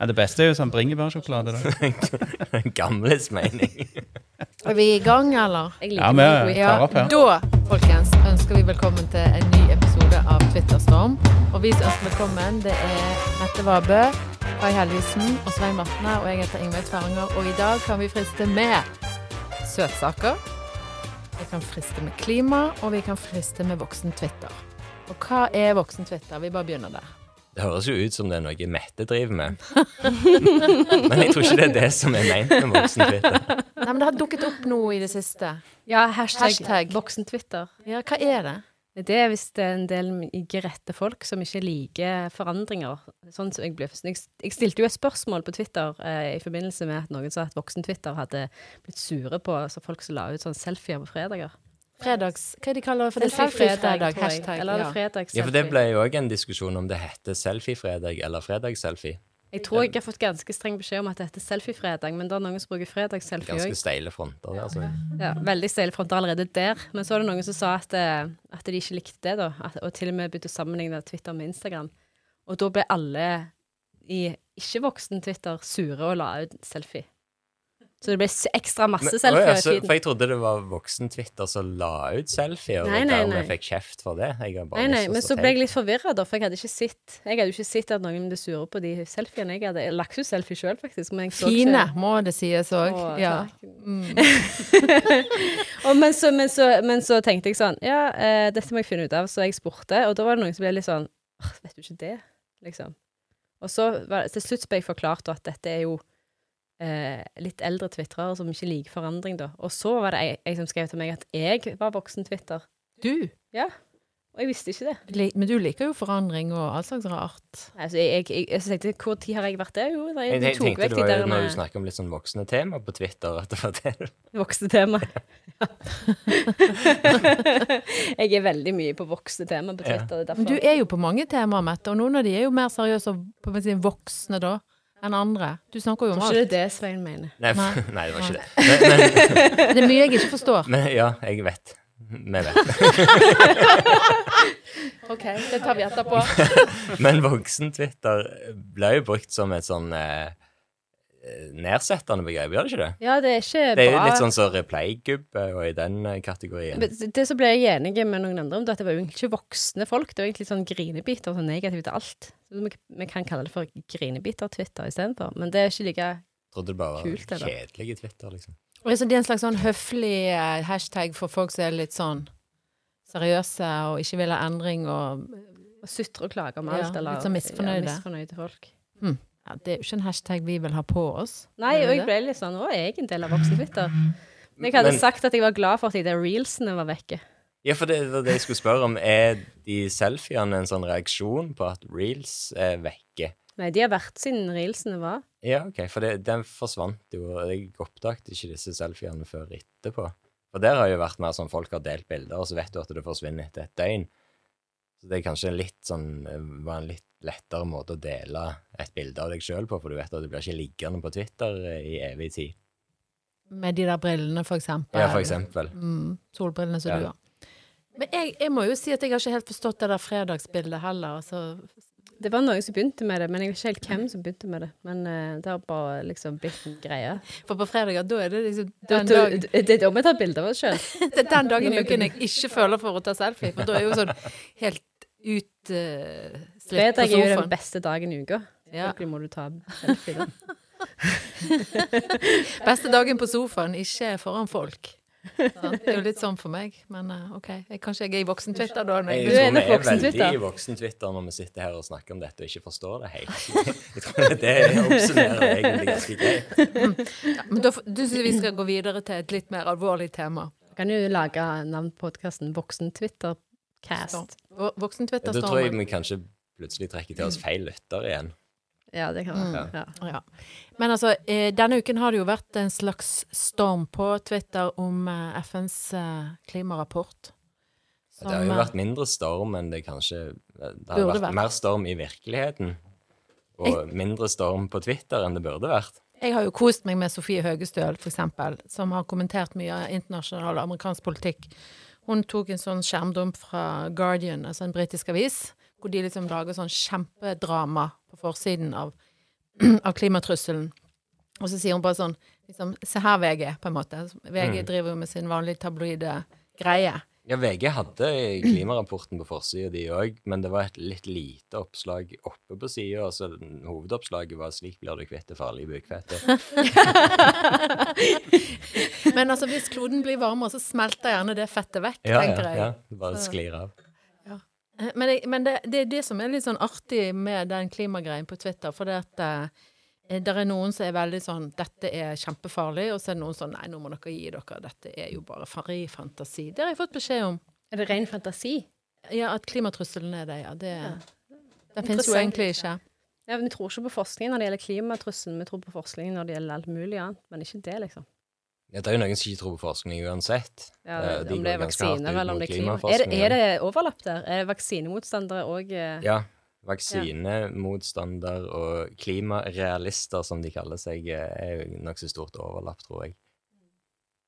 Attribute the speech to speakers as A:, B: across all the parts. A: Ja, det beste er jo sånn bringebærsjokolade. da.
B: En gamles mening.
C: Er vi i gang, eller? Jeg
A: Ja,
C: liker
A: vi
C: det.
A: tar opp her.
C: Da, folkens, ønsker vi velkommen til en ny episode av Twitterstorm. Og vi som ønsker velkommen, det er Mette Vabø, Kai Helgesen og Svein Vatne, og jeg heter Ingveig Tveranger. Og i dag kan vi friste med søtsaker, vi kan friste med klima, og vi kan friste med voksen Twitter. Og hva er voksen Twitter? Vi bare begynner der.
B: Det høres jo ut som det er noe Mette driver med. Men jeg tror ikke det er det som er meint med voksen Twitter.
C: Nei, men det har dukket opp noe i det siste.
D: Ja, hashtag,
C: Hashtag.
D: voksentwitter.
C: Ja, hva er det?
D: Det er hvis det er en del ikke rette folk som ikke liker forandringer. Sånn som jeg ble Så Jeg, jeg stilte jo et spørsmål på Twitter eh, i forbindelse med at noen sa at voksentwitter hadde blitt sure på så folk som la ut sånn selfier på fredager.
C: Fredags... Hva er det de kaller det? for
D: Det
C: det?
D: er
C: Selfie-fredag.
D: tror jeg.
C: Hashtag.
D: Eller er det
C: ja.
D: fredagsselfie.
B: Ja, for det ble jo òg en diskusjon om det heter selfie-fredag eller fredagsselfie.
D: Jeg tror jeg har fått ganske streng beskjed om at det heter selfie-fredag, men det er noen som bruker fredagsselfie òg.
B: Ganske steile fronter der, altså.
D: Ja, veldig steile fronter allerede der. Men så var det noen som sa at, eh, at de ikke likte det, da. At, og til og med begynte å sammenligne Twitter med Instagram. Og da ble alle i ikke-voksen Twitter sure og la ut selfie. Så det ble s- ekstra masse
B: Men-
D: selfier
B: Å ja,
D: i
B: så-
D: feeden.
B: For jeg trodde det var voksen Twitter som la ut selfier, og
D: Nei, nei,
B: dermed
D: nei.
B: fikk kjeft for det. Jeg har bare
D: Nei,
B: lyst
D: nei,
B: til å
D: men
B: stå
D: så ble jeg litt forvirra, da, for jeg hadde ikke sett Jeg hadde jo ikke sett at noen ble sure på de selfiene. Jeg hadde lagt ut selfie sjøl, faktisk. Men jeg så ikke-
C: Fine, må det sies òg.
D: Å,
C: Ja.
D: takk. Og men, så, men, så, men så tenkte jeg sånn Ja, eh, dette må jeg finne ut av. Så jeg spurte, og da var det noen som ble litt sånn «Åh, Vet du ikke det? Liksom. Og så var, til slutt ble jeg forklart da at dette er jo eh, litt eldre twitrere som ikke liker forandring, da. Og så var det ei, ei som skrev til meg at jeg var voksen twitter.
C: Du,
D: Ja. Og jeg visste ikke det.
C: li- men du liker jo forandring og all slags rart.
D: Nei, så jeg, jeg, jeg, jeg tenkte Hvor tid har jeg vært det? Jo, nei,
B: Jeg
D: de
B: te-
D: tok
B: tenkte
D: vekk
B: det
D: de
B: var
D: der eh,
B: jo når du
D: med
B: snakker om litt sånn voksne tema på Twitter, at det var det.
D: voksne tema. jeg er veldig mye på voksne tema på Twitter. det er
C: Men du
D: derfor-
C: er jo på mange temaer, Mette, og noen av de er jo mer seriøse og på en måte voksne da enn andre. Du snakker jo om
D: Tror ikke
C: alt.
D: det er det Svein mener.
B: Nei,
C: Nei.
B: nei, det var ikke det.
C: Det er mye jeg ikke forstår.
B: Men ja, jeg vet. Vi vet.
C: OK, det tar vi etterpå.
B: Men voksen-Twitter ble jo brukt som et sånn eh, nedsettende begrep, gjør det ikke det?
D: Ja, det er ikke
B: Det er jo
D: bra.
B: litt sånn som replay-gubbe og i den eh, kategorien.
D: Men Det som ble jeg enig med noen andre om, det er at det var jo egentlig ikke voksne folk. Det var egentlig sånn grinebiter, sånn negativt til alt. Så Vi vi kan kalle det for grinebiter-Twitter istedenfor. Men det er ikke like
B: Trodde det bare
D: Kult,
B: var
D: eller?
B: kjedelige Twitter, liksom.
C: Så det er en slags sånn høflig eh, hashtag for folk som er litt sånn seriøse og ikke vil ha endring og
D: å sutre og klage om
C: Ja,
D: alt. eller,
C: litt sånn misfornøyde. Mm.
D: Ja, misfornøyde folk.
C: ja, Det er jo ikke en hashtag vi vil ha på oss.
D: Nei,
C: Er det
D: og jeg
C: det?
D: ble litt sånn Å, er jeg en del av voksen-Twitter? Men jeg hadde
B: Men-
D: sagt at jeg var glad for at de der reelsene var vekke.
B: Ja, for det var det jeg skulle spørre om. Er de selfiene en sånn reaksjon på at reels er vekke?
D: Nei, de har vært siden reelsene var.
B: Ja, ok, for det, den forsvant jo, og jeg oppdaget ikke disse selfiene før etterpå. For der har jo vært mer sånn folk har delt bilder, og så vet du at det forsvinner etter et døgn. Så det er kanskje en litt sånn, eh, var en litt lettere måte å dele et bilde av deg sjøl på, for du vet at det blir ikke liggende på Twitter eh, i evig tid.
C: Med de der brillene, for eksempel.
B: Ja, for eksempel.
C: Mm, solbrillene som
B: Ja.
C: du har. Men jeg, jeg må jo si at jeg har ikke helt forstått det der fredagsbildet heller. Altså,
D: Det var noen som begynte med det, men jeg vet ikke helt hvem som begynte med det. Men eh, det har bare liksom blitt en greie.
C: for på fredager, da er det liksom
D: Da,
C: den,
D: da,
C: dag,
D: det er da vi tar bilde av oss sjøl.
C: det er den dagen i uken jeg ikke føler for å ta selfie, for da er jeg jo sånn helt ut uh, slitt på
D: Fredag er jo den
C: sofaen.
D: beste dagen i uka.
C: Ja.
D: Selvfølgelig må du ta selfie. da.
C: Beste dagen på sofaen, ikke foran folk. Sant? Det er jo litt sånn for meg, men eh, OK. Jeg, kanskje jeg er i voksen-Twitter da. Når
B: Jeg
D: Du
C: jeg,
B: tror
D: er
B: vi
D: nok
B: er
D: voksen
B: veldig
D: Twitter.
B: i voksen-Twitter når vi sitter her og snakker om dette og ikke forstår det helt. Jeg tror det oppsummerer egentlig ganske greit. sånn.
C: men da f- du syns vi skal gå videre til et litt mer alvorlig tema.
D: Kan jo lage navn på podkasten Voksen-Twitter-cast.
C: Sånn. Vo- Voksen-Twitter
B: Da
C: står
B: tror jeg
C: med-
B: vi kanskje plutselig trekker til oss feil lytter igjen.
D: Ja, det kan være. Ja.
C: Ja. Men altså, eh, denne uken har det jo vært en slags storm på Twitter om eh, FNs eh, klimarapport.
B: Ja, Det har jo
C: eh,
B: vært mindre storm enn det kanskje Det
C: Burde
B: har vært,
C: vært.
B: mer storm i virkeligheten. Og mindre storm på Twitter enn det burde vært.
C: Jeg har jo kost meg med Sofie Høgestøl, for eksempel, som har kommentert mye internasjonal og amerikansk politikk. Hun tok en sånn skjermdump fra Guardian, altså en britisk avis, hvor de liksom lager sånn kjempedrama på forsiden av, av klimatrusselen. Og så sier hun bare sånn liksom, Se her, VG, på en måte. VG
B: Mm.
C: driver jo med sin vanlige tabloide greie.
B: Ja, VG hadde klimarapporten på forsida, de òg, men det var et litt lite oppslag oppe på sida. Altså, hovedoppslaget var 'Slik blir du kvitt det farlige bukfettet'.
C: Men altså, hvis kloden blir varmere, så smelter gjerne det fettet vekk,
B: Ja,
C: tenker
B: ja,
C: jeg.
B: ja. Det bare sklir av.
C: Men, jeg, men det, det er det som er litt sånn artig med den klimagreien på Twitter, for det at eh, der er noen som er veldig sånn 'Dette er kjempefarlig', og så er det noen sånn 'Nei, nå må dere gi dere. Dette er jo bare fari fantasi'. Det har jeg fått beskjed om.
D: Er det ren fantasi?
C: Ja, at klimatrusselen er det, ja. Det, det fins jo
D: Interessant.
C: egentlig ikke.
D: Ja, men Vi tror ikke på forskning når det gjelder klimatrusselen, vi tror på forskning når det gjelder alt mulig annet, men ikke det, liksom.
B: Ja, det er jo noen som ikke tror på forskning uansett.
D: Ja,
B: Eh, de
D: om
B: går
D: det er
B: ganske hardt
D: vaksiner
B: ut
D: eller om
B: mot
D: det er klima. Er det,
B: klimaforskningen.
D: er det overlapp der? Er vaksinemotstandere òg ja.
B: Ja. Vaksinemotstander og klimarealister, som de kaller seg, eh, er jo nokså stort overlapp, tror jeg.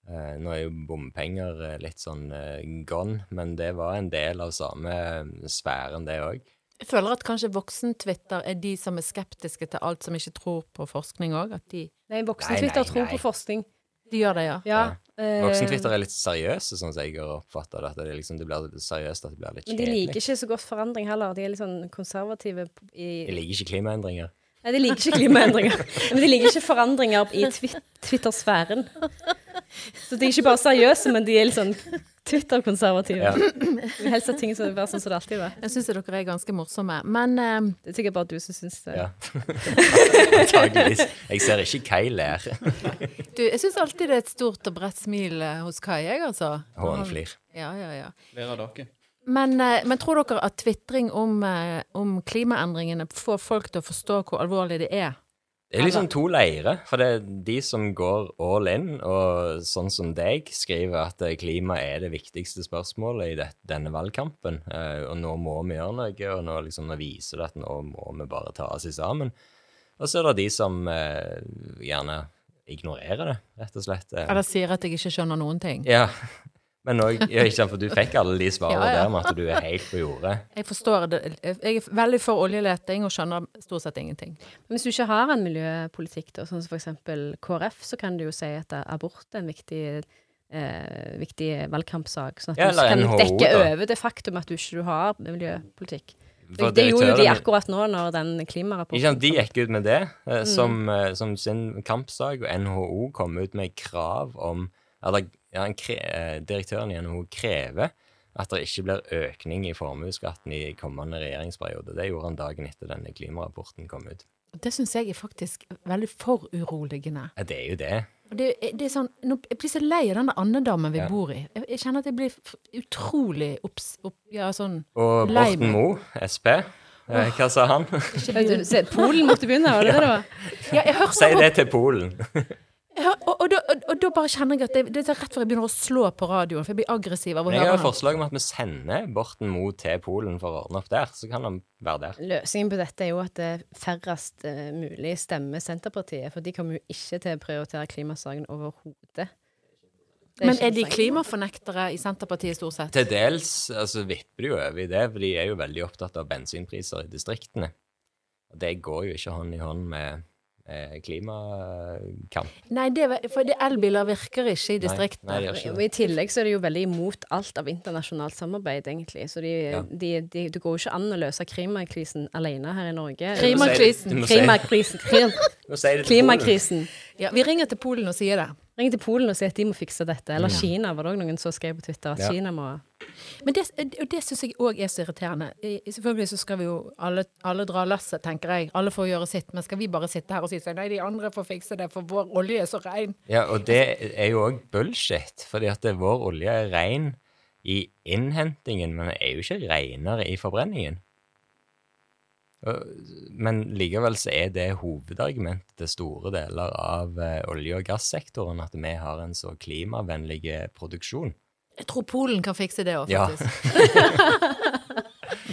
B: Eh, Nå er jo bompenger eh, litt sånn eh, gone, men det var en del av samme eh, sfæren, det òg.
C: Jeg føler at kanskje voksen-Twitter er de som er skeptiske til alt som ikke tror på forskning òg. At de,
D: Nei,
B: Nei,
D: voksentwitter
B: nei,
D: tror
B: nei.
D: på forskning.
C: de gjør det, ja.
D: Ja. eh,
B: Voksentwitter er litt seriøse, sånn som jeg har oppfatta det. At det, er liksom, det blir seriøst, at det blir litt
D: Men de
B: kjedelig.
D: liker ikke så godt forandring heller. De er litt sånn konservative p- i
B: de liker ikke klimaendringer.
D: Nei, de liker ikke klimaendringer. Men de liker ikke forandringer i twit Twitter-sfæren. Så de er ikke bare seriøse, men de er litt sånn Twitter-konservative.
B: Ja.
D: De vil helst at ting skal være sånn som det alltid var.
C: Jeg syns dere er ganske morsomme. Men eh,
D: Det er sikkert bare du som syns det.
B: Ja. Antageligvis. Jeg ser ikke Kai ler.
C: Du, jeg syns alltid det er et stort og bredt smil eh, hos Kai, jeg, altså.
B: Og han flir.
C: Ja, ja, ja.
E: Ler av dere.
C: Men, eh, men tror dere at tvitring om, eh, om klimaendringene får folk til å forstå hvor alvorlig det er?
B: Det er liksom to leirer. For det er de som går all in, og sånn som deg, skriver at eh, klima er det viktigste spørsmålet i det, denne valgkampen. eh, Og nå må vi gjøre noe, og nå, liksom, nå viser det at nå må vi bare ta oss sammen. Og så er det de som eh, gjerne ignorerer det, rett og slett. eh.
C: Eller sier at jeg ikke skjønner noen ting?
B: Ja. Men òg ja, ikke sant, For du fikk alle de svarene
C: Ja, ja.
B: der med at du er helt på jordet.
C: Jeg forstår det. Jeg er veldig for oljeleting og skjønner stort sett ingenting.
D: Men Hvis du ikke har en miljøpolitikk, da, sånn som for eksempel KrF, så kan du jo si at abort er en viktig, eh, viktig valgkampsak. Sånn at
B: Ja,
D: du
B: eller
D: kan
B: NHO,
D: dekke
B: da.
D: over det faktum at du ikke har miljøpolitikk.
B: For
D: Det, det gjorde jo de
B: direktøren-
D: akkurat nå, når den klimarapporten Mm.
B: Ikke sant, De gikk ut med det eh, som, eh, som sin kampsak, og NHO kom ut med krav om Eller ja, han kre, eh, direktøren i NHO krever at det ikke blir økning i formuesskatten i kommende regjeringsperiode. Det gjorde han dagen etter denne klimarapporten kom ut.
C: Det syns jeg er faktisk veldig for uroligende.
B: Ja, det er jo det.
C: Og Det, det er sånn, nå, jeg blir så lei av den der andedammen vi
B: Ja.
C: bor i. Jeg, jeg kjenner at jeg blir f- utrolig opps... Opp, ja, sånn
B: Og
C: lei
B: Borten
C: meg.
B: Moe, Sp, Eh, Hva sa han?
D: Vet du, se, Polen måtte begynne, var det det det var?
C: Ja, jeg hørte
B: Si
C: han
B: det til Polen.
C: Jeg hø- og, og, da- og, og da bare kjenner jeg at det, det er rett før jeg begynner å slå på radioen, for jeg blir aggressiv av å
B: Men jeg
C: høre
B: har et
C: han.
B: forslag om at vi sender Borten Moe til Polen for å ordne opp der. Så kan han være der.
D: Løsningen på dette er jo at eh, færrest eh, mulig stemmer Senterpartiet, for de kommer jo ikke til å prioritere klimasaken overhodet. Det
C: Men
D: ikke
C: er de
D: interessant.
C: klimafornektere i Senterpartiet stort sett?
B: Til dels altså, vipper det jo over i det, for de er jo veldig opptatt av bensinpriser i distriktene. Og det går jo ikke hånd i hånd med eh, klimakamp.
C: Nei, det, var- for det elbiler virker ikke i distriktene.
B: Nei, nei, det gjør ikke
D: Og
B: det.
D: I tillegg så er de jo veldig imot alt av internasjonalt samarbeid, egentlig. Så de,
B: Ja.
D: de, de, det går jo ikke an å løse klimakrisen alene her i Norge.
C: Klimakrisen.
B: Du må si- du må si-
D: Klimakrisen. Klim-
B: du må si det til
D: Klimakrisen.
C: Ja, vi ringer til Polen og sier det.
D: Ring til Polen og si at de må fikse dette. Eller Kina, var det òg noen som skrev på Twitter. At
B: Ja.
D: Kina må
C: Men det, og det syns jeg òg er så irriterende. I- Selvfølgelig så skal vi jo alle, alle dra lasset, tenker jeg. Alle får gjøre sitt. Men skal vi bare sitte her og si sånn Nei, de andre får fikse det, for vår olje er så ren.
B: Ja, og det er jo òg bullshit, fordi at det, vår olje er ren i innhentingen, men den er jo ikke renere i forbrenningen. Og- Men likevel så er det hovedargumentet til store deler av eh, olje- og gassektoren at vi har en så klimavennlig eh, produksjon.
C: Jeg tror Polen kan fikse det òg,
B: Ja.
C: faktisk.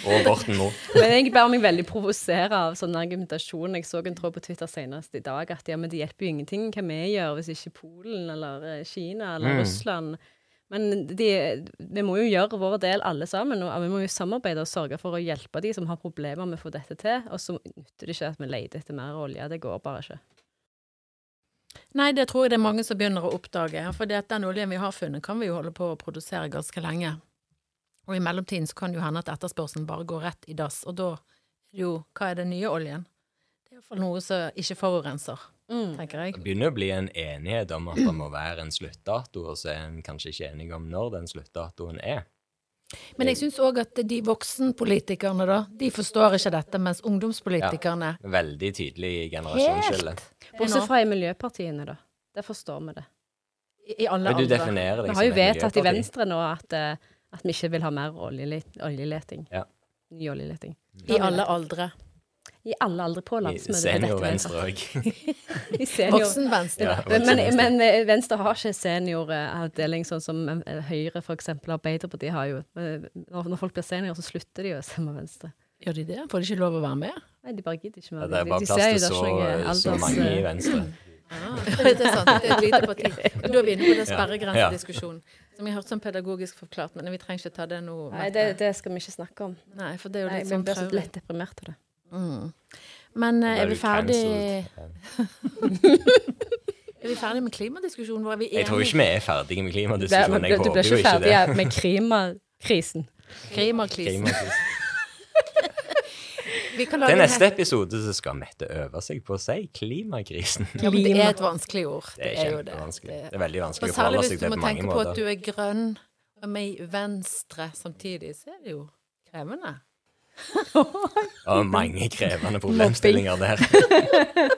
B: Og Borten Moe.
D: Men jeg bærer meg veldig provosere av sånn argumentasjon. Jeg så en tråd på Twitter senest i dag at ja, men det hjelper jo ingenting hva vi gjør hvis ikke Polen eller eh, Kina eller Russland Men de, vi må jo gjøre vår del alle sammen, og vi må jo samarbeide og sørge for å hjelpe de som har problemer med å få dette til. Og så nytter det ikke at vi leter etter mer olje. Det går bare ikke.
C: Nei, det tror jeg det er mange som begynner å oppdage. For den oljen vi har funnet, kan vi jo holde på å produsere ganske lenge. Og i mellomtiden så kan det jo hende at etterspørselen bare går rett i dass. Og da er det jo Hva er den nye oljen? Det er iallfall noe som ikke forurenser,
D: Mm.
C: tenker jeg.
B: Det begynner å bli en enighet om at det må være en sluttdato, og så er en kanskje ikke enig om når den sluttdatoen er.
C: Men jeg syns òg at de voksenpolitikerne, da, de forstår ikke dette, mens ungdomspolitikerne
B: Veldig tydelig generasjonsskille.
D: Bortsett fra i miljøpartiene, da. Der forstår vi det.
C: i alle
B: Men du
C: aldre
B: definerer deg
D: Vi
B: som
D: har jo
B: et
D: vedtatt i
B: miljøparti.
D: Venstre nå at, eh, at vi ikke vil ha mer oljele- oljeleting.
B: Ja.
D: Ny oljeleting.
C: I alle aldre.
D: I alle aldre på
B: I
D: landsmøtet. er
B: Senior
D: dette
B: Venstre
D: vedtatt.
B: òg.
D: I senior.
C: Voksenvenstre.
B: Ja,
D: Men, men, men eh, Venstre har ikke senioravdeling, sånn som eh, Høyre f.eks. Arbeiderpartiet har jo. Eh, Når, når folk blir seniorer, så slutter de jo å stemme Venstre.
C: Gjør de det? Får de ikke lov å være med?
D: Nei, de bare gidder ikke
B: Det
D: mer.
B: er
D: De-
B: bare
D: de
B: plass
D: ser
B: til
D: jo det er
B: så, eh,
D: ikke
B: så
D: noe alders-
B: mange i Venstre.
C: det er sant. Det er et lite parti. Og da er vi inne på den sperregrensediskusjonen. Som jeg hørte sånn pedagogisk forklart, men vi trenger ikke ta det nå.
D: Nei, det, det skal vi ikke snakke om.
C: Nei, for det er jo
D: Nei,
C: litt
D: vi
C: sånn
D: blir så
C: traurig.
D: lett deprimert av det.
C: Men eh,
B: Da
C: er vi
B: du
C: ferdig
B: cancelled.
C: Er vi ferdig med klimadiskusjonen vår? Er vi
B: Jeg tror ikke vi er ferdige med
D: Du
B: klimadiskusjonen.
D: blir
B: Jeg
D: du
B: håper
D: blir
B: jo
D: ikke
B: ikke
D: ferdig
B: det.
D: eh, med klimakrisen.
C: klimakrisen.
B: Klimakrisen.
C: Vi kan
B: Til
C: lage en
B: neste episode så skal Mette øve seg på å si klimakrisen.
C: Ja, men det er et vanskelig ord.
B: Det er
C: jo det.
B: kjempevanskelig. Det er veldig
C: Og
B: vanskelig å
C: særlig
B: forholde
C: hvis
B: seg
C: du
B: til
C: må
B: på mange
C: tenke på at
B: måter.
C: du er grønn og med i Venstre samtidig, så er det jo krevende.
B: Og mange krevende problemstillinger der.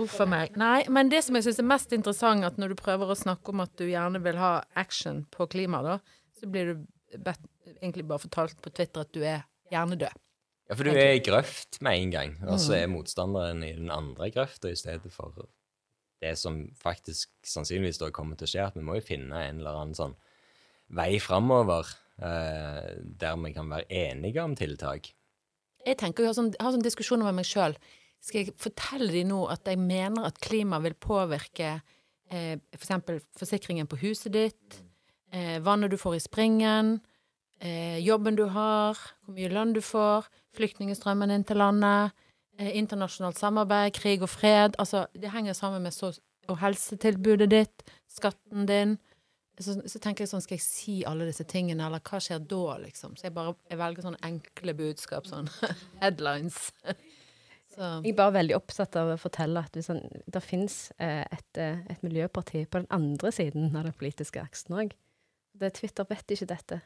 C: Uff a meg. Nei, men det som jeg syns er mest interessant, at når du prøver å snakke om at du gjerne vil ha action på klima, da, så blir du bedt, egentlig bare fortalt på Twitter at du er hjernedød.
B: Ja, for du er i grøft med en gang, og så er motstanderen i den andre grøfta i stedet for det som faktisk sannsynligvis da kommer til å skje, at vi må jo finne en eller annen sånn vei framover eh, der vi kan være enige om tiltak.
C: Jeg tenker jo, jeg har sånn, jeg har sånn diskusjoner med meg sjøl. Skal jeg fortelle de nå at jeg mener at klima vil påvirke eh, f.eks. eksempel forsikringen på huset ditt, eh, vannet du får i springen, eh, jobben du har, hvor mye lønn du får, flyktningstrømmen inn til landet, eh, internasjonalt samarbeid, krig og fred Altså, det henger sammen med så Og helsetilbudet ditt, skatten din så, så tenker jeg sånn, skal jeg si alle disse tingene, eller hva skjer da, liksom? Så jeg bare jeg velger sånne enkle budskap, sånn headlines. Så
D: Jeg er bare veldig opptatt av å fortelle er at hvis han, det finnes eh, et, eh, et miljøparti på den andre siden av den politiske aksen òg. Twitter vet ikke dette.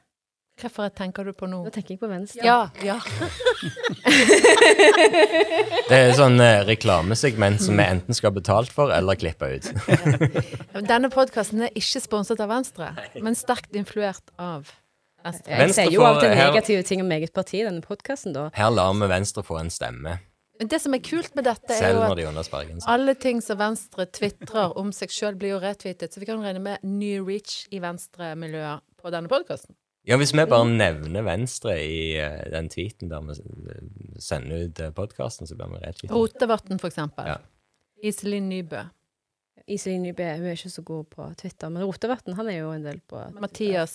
C: hvorfor tenker du på nå?
D: Nå tenker jeg på Venstre.
C: Ja, ja.
B: Det er sånn eh, reklamesegment som vi enten skal ha betalt for eller klippe ut.
C: Denne podkasten er ikke sponset av Venstre, men sterkt influert av
F: Venstre.
D: Jeg
B: Venstre
D: sier jo av og til
B: får- her-
D: negative ting om eget parti i denne podkasten, da.
B: Her lar vi Venstre få en stemme,
C: Men det som er kult med dette, er
B: selv
C: jo
B: når
C: at
B: de er under sperregrensen.
C: alle ting som Venstre tvitrer om seg sjøl, blir jo retweetet. Så vi kan regne med ny reach i Venstre-miljøer på denne podkasten.
B: Ja, hvis vi bare nevner Venstre i eh, den tweeten der vi eh, sender ut podkasten, så blir vi rett og
C: Rotevatn, for eksempel.
B: Ja.
C: Iselin Nybø.
D: Iselin Nybø hun er ikke så god på Twitter, men Rotevatn han er jo en del på
C: Mathias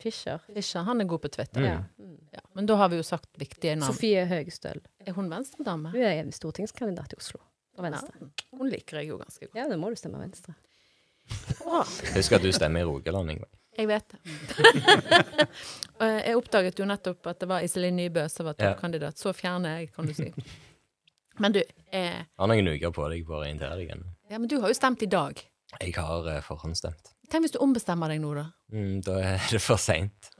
D: Fischer.
C: Fischer, han er god på Twitter.
B: Mm.
D: Ja.
C: Ja. Men da har vi jo sagt viktige navn.
D: Mm. Sofie Høgestøl.
C: Er hun Venstre-dame?
D: Hun er stortingskandidat i Oslo. Og Venstre.
C: Ja, Hun liker jeg jo ganske godt.
D: Ja, da må du stemme Venstre.
C: Bra.
B: slett. Husk at du stemmer i Rogaland, Ingvar.
C: Jeg vet det. Og jeg oppdaget jo nettopp at det var Iselin Nybø som var
B: Ja.
C: toppkandidat. Så fjerne jeg, kan du si. Men du, eh,
B: Har noen uker på deg på å orientere deg ennå.
C: ja, men du har jo stemt i dag.
B: Jeg har eh, forhåndsstemt.
C: Tenk hvis du ombestemmer deg nå, da.
B: Mm, da er det for seint.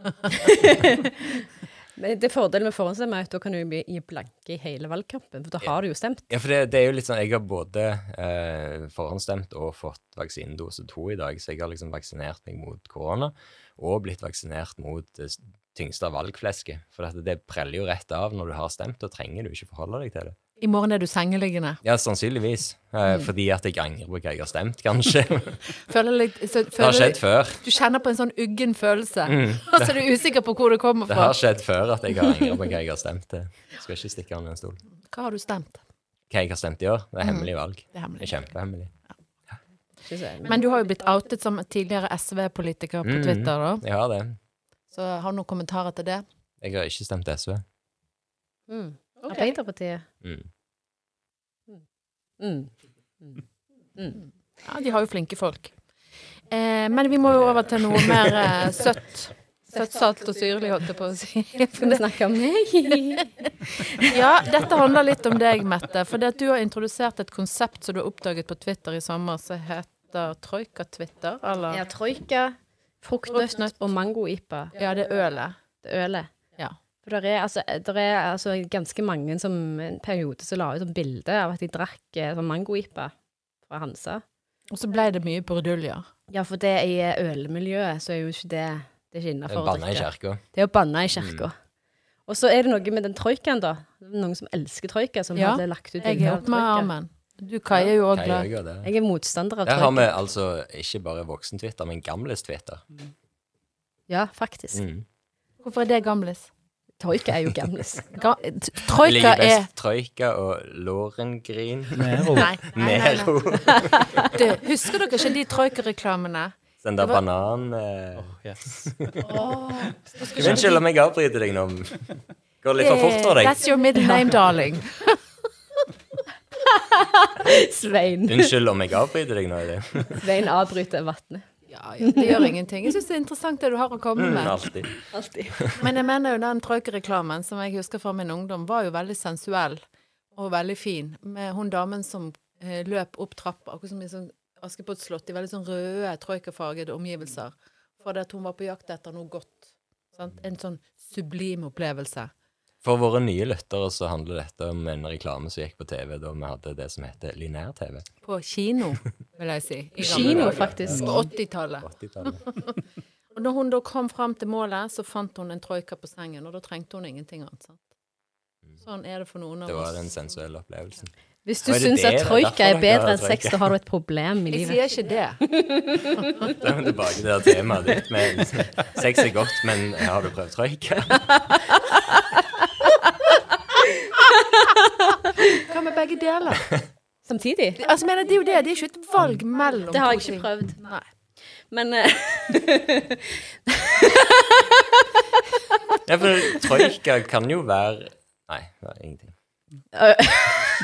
D: Men det Fordelen med forhåndsstemme er at da kan du bli- gi blanke i hele valgkampen, for da har du jo stemt.
B: Ja, for det, det er jo litt sånn Jeg har både eh, forhåndsstemt og fått vaksinedose to i dag, så jeg har liksom vaksinert meg mot korona og blitt vaksinert mot det s- tyngste av valgflesket. For at det preller jo rett av når du har stemt, da trenger du ikke forholde deg til det.
C: I morgen er du sengeliggende.
B: Ja, sannsynligvis. Eh, Fordi at jeg angrer på hva jeg har stemt, kanskje. det
C: Mm. Føler litt, så,
B: har
C: føler,
B: skjedd Mm. før.
C: du kjenner på en sånn uggen følelse. Og så er du usikker på hvor det kommer
B: Det
C: fra.
B: har skjedd før at jeg har angret på hva jeg har stemt. Det skal ikke stikke under en stol.
C: Hva har du stemt?
B: Hva jeg har stemt i år, det er
C: Mm.
B: hemmelig valg.
C: Det er hemmelig.
B: Det er kjempehemmelig.
D: Ikke så ærlig.
C: Men du har jo blitt outet som tidligere SV-politiker på
B: Mm.
C: Twitter, da.
B: Jeg har det.
C: Så har du noen kommentarer til det?
B: Jeg har ikke stemt SV.
D: Mm. Arbeiderpartiet.
B: Mm.
D: Mm.
C: Ja, de har jo flinke folk. Eh, men vi må jo over til noe mer eh, søtt. Søtt, salt og syrlig, holdt jeg på å si.
D: Skal vi snakke om meg?
C: Ja, dette handler litt om deg, Mette. For det at du har introdusert et konsept som du har oppdaget på Twitter i sommer, som heter Troika-Twitter, eller?
D: Ja, troika, fruktnøtt og mango-ipa.
C: Ja, det er ølet.
D: Det ølet.
C: Ja.
D: For der er, altså, der er altså ganske mange som en periode som la ut et bilde av at de drakk eh, sånn mango-ipa fra Hansa.
C: Og så ble det mye bruduljer.
D: Ja, for det i eh, ølmiljøet så er jo ikke det det er ikke
B: Jeg
D: innafor å
B: banna i Mm.
D: drikke.
B: kirka.
D: Det er å banne i kirka. Og så er det noe med den troikaen, da. Noen som elsker troika, som
C: Ja,
D: hadde lagt ut
C: Jeg
D: bilde
C: er
D: av
C: oppe med
D: troika.
C: armen. Du, Kai, er jo
B: Hva
C: òg
B: gjør
C: glad.
B: jeg av det?
D: Jeg er motstander av
B: Der har vi
D: troika.
B: altså ikke bare voksen-Twitter, men gamles-Twitter.
D: Ja, faktisk.
B: Mm.
C: Hvorfor er det gamlis?
D: Troika er jo gamlis.
C: Ga
B: Det
C: Troika
B: ligger
C: er
B: best Troika og Lorengrin.
A: Nero.
C: Nei, nei, nei, nei.
B: Nero.
C: Du, Husker dere ikke de Troika-reklamene?
B: Den der
C: Det var-
B: banan... eh,
A: Yes.
B: Unnskyld om jeg avbryter deg nå. Går litt for fort for deg.
C: Eh, That's your middle name, darling.
D: Svein.
B: Unnskyld om jeg avbryter deg nå. i det.
D: Svein avbryter vannet.
C: Ja, ja, det gjør ingenting. Jeg syns det er interessant det du har å komme
B: Mm,
C: med.
B: alltid.
D: Alltid.
C: Men jeg mener jo den troika-reklamen som jeg husker fra min ungdom, var jo veldig sensuell og veldig fin, med hun damen som eh, løp opp trappa, akkurat som i sånn Askepott-slott, i veldig sånn røde troikafargede omgivelser, fordi at hun var på jakt etter noe godt. Sant? En sånn sublim opplevelse.
B: For våre nye lyttere så handler dette om en reklame som gikk på TV da vi hadde det som heter linær-TV.
C: På kino, vil jeg si. i gamle
D: Kino,
C: dager.
D: faktisk.
C: På 80-tallet.
B: 80-tallet.
C: Og når hun da kom fram til målet, så fant hun en troika på sengen, og da trengte hun ingenting annet. sant? Sånn er det for noen av
B: Mm. Det var
C: oss.
B: den sensuelle opplevelsen.
D: Hvis du
B: Og er det
D: syns
B: det
D: at
B: det er
D: troika
B: derfor
D: er
B: dere
D: bedre
B: har
D: enn sex,
B: troika?
D: da har du et problem i
C: Jeg
D: livet.
C: sier ikke det.
B: Da er vi tilbake til det temaet ditt med sex er godt, men har du prøvd troika?
C: Hva med begge deler?
D: Samtidig. Mm.
C: Altså, mener, Det er jo det. Det er ikke et valg mellom
D: Det har jeg
C: to ting.
D: ikke prøvd.
C: Nei.
D: Men eh,
B: Ja, for troika kan jo være Nei, det var ingenting.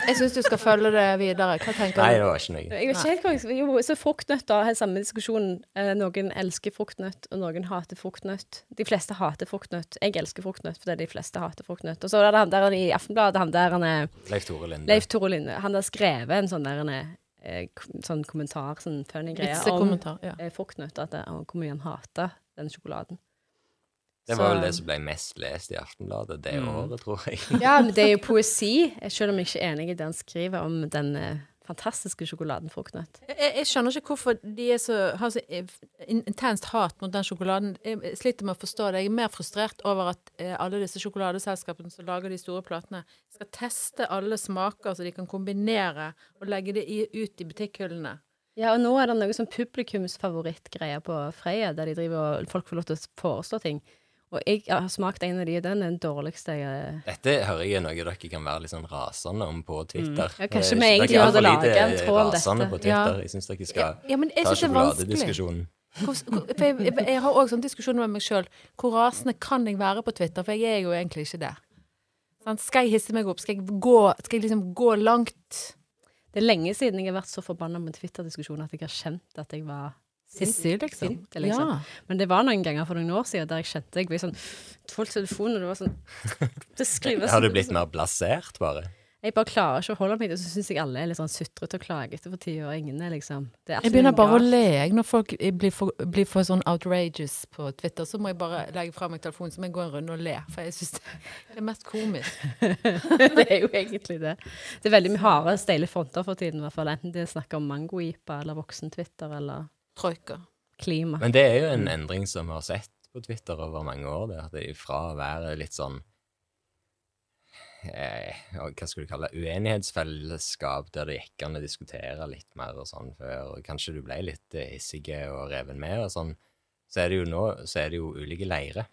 C: Jeg syns du skal følge det videre. Hva tenker
B: Nei,
C: du?
B: det var ikke noe.
D: jeg vet ikke helt hva jeg skal Jo, så fruktnøtt, da. Har samme diskusjon. Eh, Noen elsker fruktnøtt, og noen hater fruktnøtt. De fleste hater fruktnøtt. Jeg elsker fruktnøtt fordi de fleste hater fruktnøtt. Og så er det han der i Aftenbladet, han der han er
B: Leif Tore Linde.
D: Leif Tore Linde. Han har skrevet en sånn der han er eh, k- sånn kommentar, sånn funny greie om
C: Vitsekommentar. Ja.
D: eh, fruktnøtt, at eh, hvor mye han hater den sjokoladen.
B: Det var
D: så- Mm.
B: vel det som ble mest lest i Aftenbladet det året, tror jeg.
D: Ja, men det er jo poesi, selv om jeg ikke er enig i det han skriver om den eh, fantastiske sjokoladen fruktnøtt.
C: Jeg, jeg skjønner ikke hvorfor de er så, har så eh, in- intenst hat mot den sjokoladen. Jeg jeg sliter med å forstå det. Jeg er mer frustrert over at eh, alle disse sjokoladeselskapene som lager de store platene, skal teste alle smaker så de kan kombinere og legge det i, ut i butikkhyllene.
D: Ja, og nå er det noe sånn publikumsfavorittgreier på Freia, der de driver og folk får lov til å foreslå ting. Og jeg har smakt en av de, og den er den dårligste jeg
B: Dette hører jeg er noe dere kan være litt sånn rasende om på Twitter.
D: Ja, kanskje
B: Eh,
D: vi
B: dere er altfor
D: egentlig burde lage
B: lite
D: en tråd om
B: rasende
D: dette.
B: På Twitter.
C: Ja.
B: Jeg syns dere skal
C: Ja, men jeg
B: ta
C: synes det er vanskelig.
B: sjokoladediskusjonen.
C: Hvor, hvor, for jeg, jeg, jeg har òg sånn diskusjon med meg sjøl. Hvor rasende kan jeg være på Twitter? For jeg er jo egentlig ikke det. Sant? Skal jeg hisse meg opp? Skal jeg gå, skal jeg liksom gå langt?
D: Det er lenge siden jeg har vært så forbanna med Twitter-diskusjoner at jeg har kjent at jeg var
C: Sissy, liksom.
D: sint, liksom.
C: Ja.
D: Men det var noen ganger for noen år siden der jeg kjente jeg ble sånn Folk telefonen, og det var sånn Det skrives
B: Har du blitt mer blasert, bare?
D: Jeg bare klarer ikke å holde meg i det, så syns jeg alle er litt sånn sutrete og klagete for tiåringene, liksom. Det er
C: Jeg begynner bare å le jeg, når folk eh, blir for, blir for sånn outrageous på Twitter. Så må jeg bare legge fra meg telefonen, så må jeg gå en runde og le. For jeg syns det det er mest komisk.
D: det er jo egentlig det. Det er veldig mye harde, steile fronter for tiden, i hvert fall. Enten det er snakk om mangojipa eller voksen-Twitter eller
C: Troika.
D: klima.
B: Men det er jo en endring som vi har sett på Twitter over mange år, det at de fra å være litt sånn eh, Hva skal du kalle det? Uenighetsfellesskap, der det gikk an å diskutere litt mer og sånn før, og kanskje du ble litt eh, hissige og reven med og sånn, så er det jo nå så er det jo ulike leirer.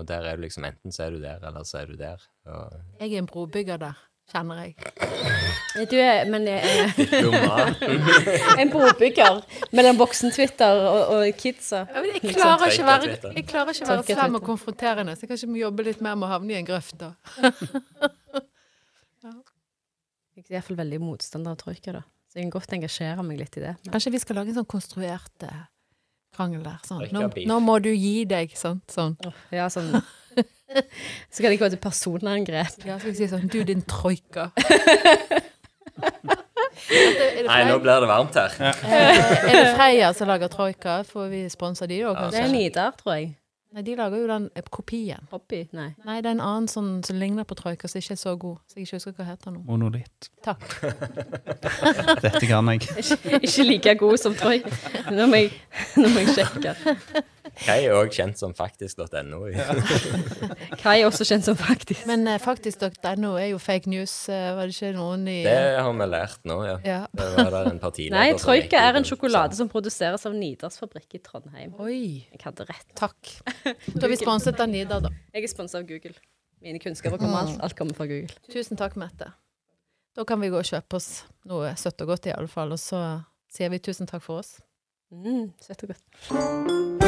B: Og der er du liksom Enten så er du der, eller så er du der. Og
C: Jeg er en brobygger der, kjenner jeg.
D: Du er, men jeg er
B: diplomaten
D: en brobygger mellom voksen-Twitter og, og kidsa.
C: Jeg klarer ikke å være,
B: sånn Twitter.
C: jeg klarer ikke å være
D: Troika
C: slem og
D: Twitter.
C: konfronterende, så jeg kanskje må jobbe litt mer med å havne i en grøft, da.
D: Jeg er iallfall veldig motstander av troika, da. Så jeg kan godt engasjere meg litt i det. Men
C: Kanskje vi skal lage en sånn konstruert eh, krangel der. Sånn.
B: Ikke
C: Nå,
B: beef.
C: nå må du gi deg, sånn. sånn.
D: ja, sånn Så kan det gå til personangrep.
C: Ja, skal vi si sånn Du, din troika.
B: Nei, nå blir det varmt her.
C: Eh, er det Freia som lager troika? Får vi sponsa de òg,
B: Ja,
D: Det er
C: kanskje?
D: Nidar, tror jeg.
C: Nei, de lager jo den eh, kopien.
D: Hobby? Nei.
C: Nei, det er en annen sånn som ligner på troika, som ikke er så god. Så jeg ikke husker hva heter nå.
A: Monolitt.
C: Takk.
A: Dette kan jeg.
D: Ikke, ikke like god som troika. Nå må jeg, nå må jeg sjekke.
B: Kai er òg kjent som faktisk.no.
D: Kai er også kjent som faktisk.
C: Men eh, faktisk, .no er jo fake news. Eh, var det ikke noen i
B: Det har vi lært nå, ja.
C: Ja.
B: Det var der en altså, partileder
D: Nei,
B: som gikk
D: troika
B: ut
D: er en
B: og
D: sjokolade
B: sa-
D: som produseres av Nidars fabrikk i Trondheim.
C: Oi.
D: Jeg hadde rett.
C: Takk. Da har vi sponset av Nidar, da.
D: Jeg er sponsa av Google. Mine kunnskaper kommer alt, alt kommer fra Google.
C: Tusen takk, Mette. Da kan vi gå og kjøpe oss noe søtt og godt, i alle fall. Og så sier vi tusen takk for oss.
D: Mm, søtt og godt.